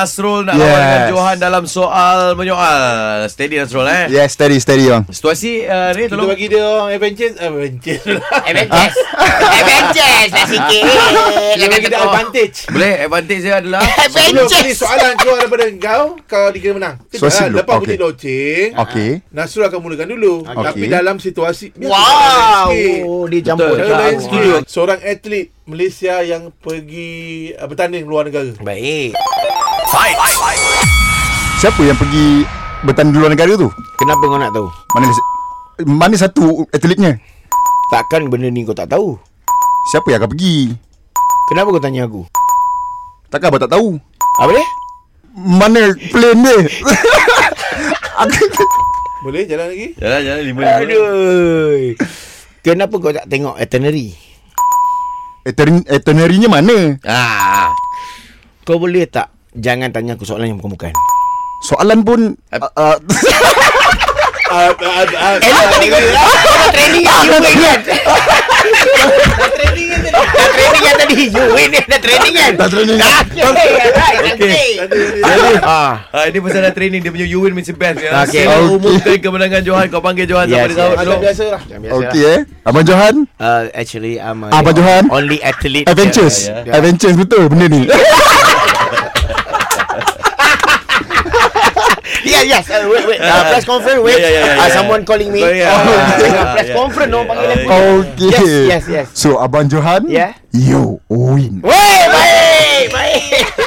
Nasrul nak yes. Yes. lawan dengan Johan dalam soal menyoal. Steady Nasrul eh. Yeah. Yes, steady, steady bang. Situasi uh, ni Kita tolong bagi dia orang eh, Avengers Avengers lah Avengers Avengers lah sikit Kita bagi dia Jangan tegur advantage boleh advantage dia adalah Sebelum ni Avengers soalan keluar daripada kau Kau dikira menang Kejap Situasi lah dulu. Lepas Okey. okay. bunyi loceng Okey. Nasrul akan mulakan dulu okay. Tapi Okey. dalam situasi biar Wow kita lain sikit. Dia campur Cara Betul. lain Wow. sikit Seorang atlet Malaysia yang pergi uh, bertanding luar negara Baik Siapa yang pergi bertanding luar negara tu? Kenapa kau nak tahu? Mana mana satu atletnya? Takkan benda ni kau tak tahu. Siapa yang akan pergi? Kenapa kau tanya aku? Takkan abang tak tahu. Apa dia? Mana plane dia? Boleh jalan lagi? Jalan jalan lima lima. Aduh. Kenapa kau tak tengok itinerary? Etern- Eternary-nya mana? Ah, Kau boleh tak jangan tanya aku soalan yang bukan-bukan? Soalan pun uh, uh, Ah, ah, ah, Eh ah, tadi kau Kau training kan You win kan Dah training kan tadi You win kan Dah training kan Dah training. Dah training kan Okay Ah, ah ini pasal dah training dia punya you win Mr. Best. Ya. Okay. Okay. Sila Okay. umumkan kemenangan Johan kau panggil Johan sama Yes, dia yes. sama. Macam biasa lah Okey eh. Abang Johan, Uh, actually I'm a Abang Johan? Only athlete Adventures. ya, Adventures betul benda ni. Yeah, yes. Uh, wait, wait. Uh, press conference, wait. Yeah, yeah, yeah, Uh, yeah. someone calling me. Oh, yeah. Oh, Yeah, press yeah. conference, no panggil Yeah. aku. Okey. Yes, yes, Ya. yes. So abang Johan, Yeah. you win. Weh, baik, baik.